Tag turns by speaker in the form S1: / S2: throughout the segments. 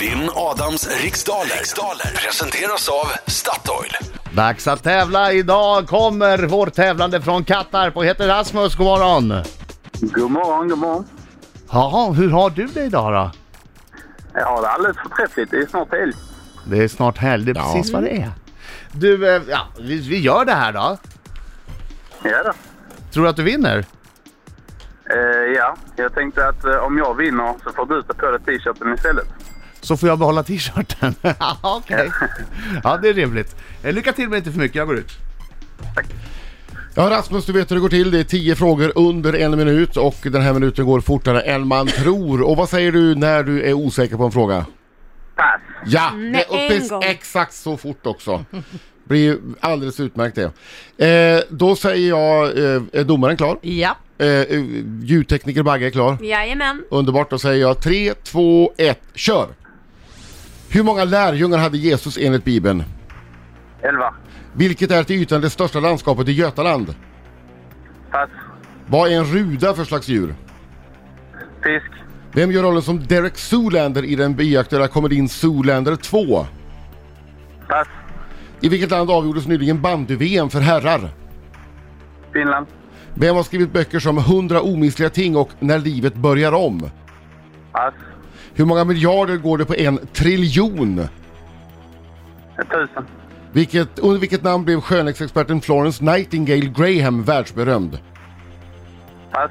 S1: Vinn Adams riksdaler. riksdaler presenteras av Statoil.
S2: Dags att tävla! Idag kommer vår tävlande från Kattarp och heter Rasmus. God morgon!
S3: God morgon, god morgon.
S2: Jaha, hur har du det idag då?
S3: Jag har det alldeles förträffligt. Det är snart helg.
S2: Det är snart helg, det är
S4: Ja.
S2: precis vad det är. Mm. Du, eh, ja, vi, vi gör det här då.
S3: Ja, då.
S2: Tror du att du vinner?
S3: Eh, ja, jag tänkte att eh, om jag vinner så får du ta på dig t-shirten istället.
S2: Så får jag behålla t-shirten. Ja, Okej. Ja, det är rimligt. Eh, Lycka till men inte för mycket, jag går ut.
S4: Ja Rasmus, du vet hur det går till. Det är 10 frågor under en minut och den här minuten går fortare än man tror. Och vad säger du när du är osäker på en fråga?
S3: Pass!
S4: Ja,
S5: Mm, Med
S4: det är
S5: en
S4: uppe
S5: gång.
S4: exakt så fort också. Blir ju alldeles utmärkt det. Eh, då säger jag, eh, är domaren klar?
S5: Ja.
S4: Eh, eh, ljudtekniker Bagge är klar.
S5: Jajamän.
S4: Underbart, då säger jag 3, 2, 1, kör! Hur många lärjungar hade Jesus enligt Bibeln?
S3: Elva.
S4: Vilket är till ytan det största landskapet i Götaland?
S3: Pass.
S4: Vad är en ruda för slags djur?
S3: Fisk.
S4: Vem gör rollen som Derek Zoolander i den biaktuella komedin Zoolander 2?
S3: Pass.
S4: I vilket land avgjordes nyligen bandy-VM för herrar?
S3: Finland.
S4: Vem har skrivit böcker som 100 omistliga ting och När livet börjar om?
S3: Pass.
S4: Hur många miljarder går det på en triljon?
S3: Eh, Tusen.
S4: Vilket, under vilket namn blev skönhetsexperten Florence Nightingale Graham världsberömd?
S3: Pass.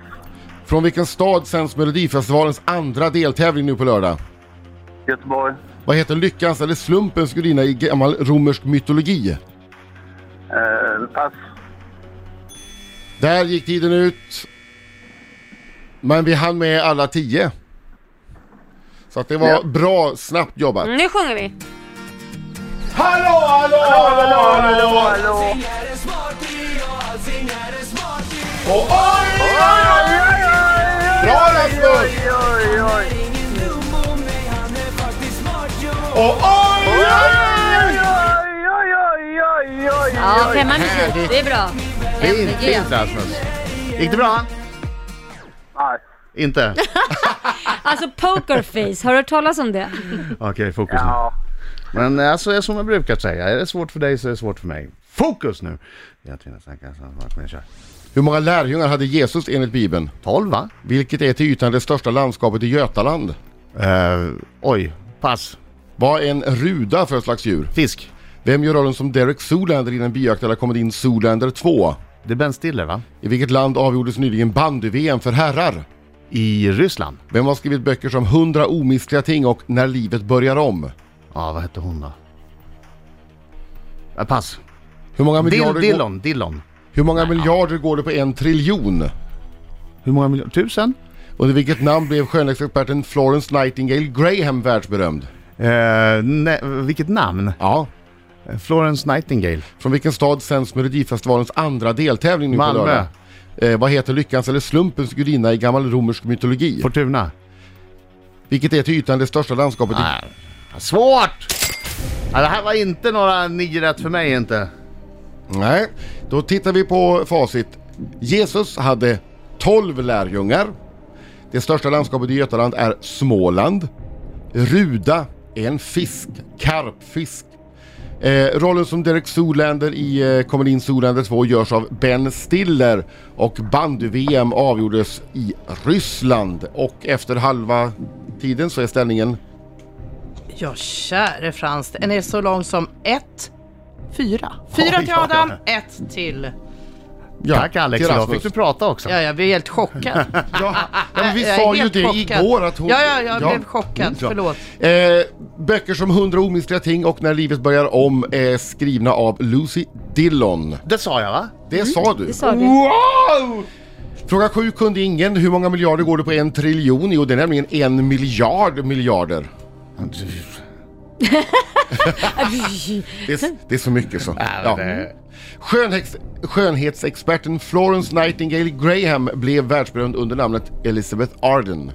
S4: Från vilken stad sänds Melodifestivalens andra deltävling nu på lördag?
S3: Göteborg.
S4: Vad heter lyckans eller slumpens gudinna i gammal romersk mytologi?
S3: Eh, pass.
S4: Där gick tiden ut. Men vi hann med alla tio. Så att det var
S3: Ja.
S4: bra, snabbt jobbat.
S5: Nu sjunger vi.
S4: Mm. Hallå, hallå, hallå, hallå, hallå! Och oj, oj, oj! Bra Rasmus!
S3: Oj, oj, oj!
S4: Och oj, oj!
S3: Oj, oj, oj, oj, oj!
S5: Ja, femman är fint. Det är bra.
S2: Fint, fint Rasmus. Gick det bra?
S3: Nej.
S2: Inte?
S5: Alltså pokerface, har du hört talas om det?
S2: Okej, fokus nu.
S3: Ja.
S2: Men alltså är som jag brukar säga, är det svårt för dig så är det svårt för mig. Fokus nu! Jag tvingas tänka så här, men jag kör.
S4: Hur många lärjungar hade Jesus enligt Bibeln?
S2: 12 va?
S4: Vilket är till ytan det största landskapet i Götaland?
S2: Eh, oj, pass.
S4: Vad är en ruda för slags djur?
S2: Fisk.
S4: Vem gör rollen som Derek Zoolander i den bioaktuella komedin Zoolander 2?
S2: Det är Ben Stiller va?
S4: I vilket land avgjordes nyligen bandy-VM för herrar?
S2: I Ryssland.
S4: Vem har skrivit böcker som 100 omistliga ting och När livet börjar om?
S2: Ja, vad hette hon då? Eh, pass.
S4: Hur många
S2: Dill,
S4: miljarder, går,
S2: Dillon, Dillon.
S4: hur många miljarder går det på en triljon?
S2: Hur många miljoner? Tusen?
S4: Under vilket namn blev skönhetsexperten Florence Nightingale Graham världsberömd?
S2: Eh, ne- vilket namn?
S4: Ja.
S2: Florence Nightingale.
S4: Från vilken stad sänds Melodifestivalens andra deltävling nu
S2: Malmö.
S4: på lördag? Eh, vad heter lyckans eller slumpens gudinna i gammal romersk mytologi?
S2: Fortuna.
S4: Vilket är till ytan det största landskapet i...
S2: Svårt! Ja, det här var inte några nio rätt för mig inte.
S4: Nej. Då tittar vi på facit. Jesus hade 12 lärjungar. Det största landskapet i Götaland är Småland. Ruda är en fisk, karpfisk. Eh, rollen som Derek Zoolander i eh, komedin Zoolander 2 görs av Ben Stiller och bandy-VM avgjordes i Ryssland och efter halva tiden så är ställningen
S6: Ja, käre Frans, den är så lång som ett, fyra. Fyra till
S2: ja,
S6: Adam,
S2: ja.
S6: ett till...
S4: ja,
S2: Tack Alex,
S4: till
S2: idag
S4: Rasmus.
S2: fick du prata också.
S6: Ja, jag blev helt chockad.
S4: Ja, ja, men vi
S6: Jag är
S4: sa ju
S6: helt
S4: det
S6: chockad.
S4: igår att hon...
S6: Ja, ja, jag blev chockad. Förlåt.
S4: Eh, böcker som 100 omistliga ting och När livet börjar om är skrivna av Lucy Dillon.
S2: Det sa jag va?
S4: Det
S6: Mm,
S4: sa du.
S5: Det sa du.
S4: Wow! Fråga 7 kunde ingen. Hur många miljarder går det på en triljon? Jo, det är nämligen en miljard miljarder. Det är, det är så mycket så. Ja. Skönhets, skönhetsexperten Florence Nightingale Graham blev världsberömd under namnet Elizabeth Arden.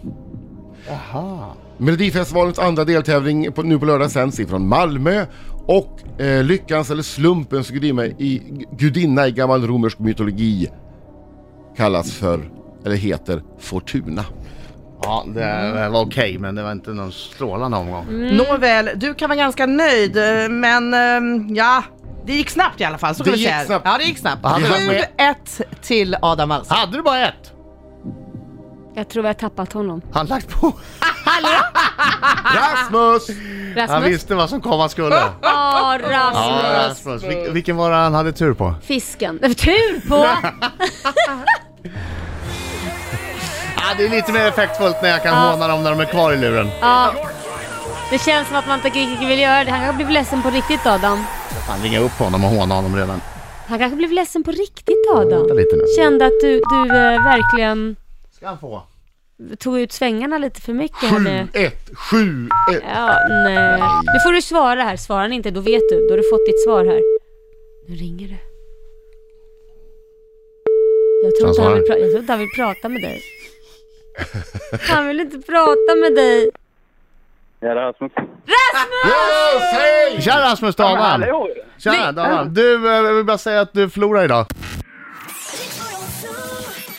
S4: Melodifestivalens andra deltävling på, nu på lördag sänds ifrån Malmö och eh, lyckans eller slumpens gudinna i, gudinna i gammal romersk mytologi kallas för, eller heter, Fortuna.
S2: Ja, det eh, var okej, men det var inte någon strålande omgång.
S4: Mm.
S6: Nåväl, du kan vara ganska nöjd, eh, men ehm, ja, det gick snabbt i alla fall. Så kan
S4: Det
S6: vi
S4: gick
S6: säga.
S4: snabbt.
S6: Ja, det gick snabbt.
S2: Hade du varit med?
S6: 7-1 till Adam alltså. Alsing.
S2: Hade du bara ett?
S5: Jag tror vi har tappat honom.
S2: Han lagt på.
S4: Rasmus!
S2: Han
S5: Rasmus?
S2: visste vad som komma skulle.
S5: Ja,
S2: Ja,
S5: Rasmus.
S2: Rasmus. Vil- vilken var det han hade tur på?
S5: Fisken. Tur på!
S2: Ja, det är lite mer effektfullt när jag kan håna dem när de är kvar i luren.
S5: Ja. Det känns som att man inte riktigt vill göra det. Han kanske blev ledsen på riktigt Adam.
S2: Fan, ringa upp honom och håna honom redan.
S5: Han kanske blev ledsen på riktigt Adam.
S2: Vänta lite nu.
S5: Kände att du, du eh, verkligen
S2: Ska han få?
S5: tog ut svängarna lite för mycket. här med-
S4: 7-1, 7-1.
S5: Ja, nej. Nu får du svara här. Svarar han inte, då vet du. Då har du fått ditt svar här. Nu ringer det. Jag tror,
S2: Han
S5: inte
S2: svarar.
S5: han, vill pra- jag tror inte han vill prata med dig. Han vill inte prata med dig.
S3: Ja, Rasmus.
S4: Yes, hej!
S2: Tja Rasmus Davan! Tja Davan! Du, eh, jag vill bara säga att du förlorar idag.
S7: Riks 102.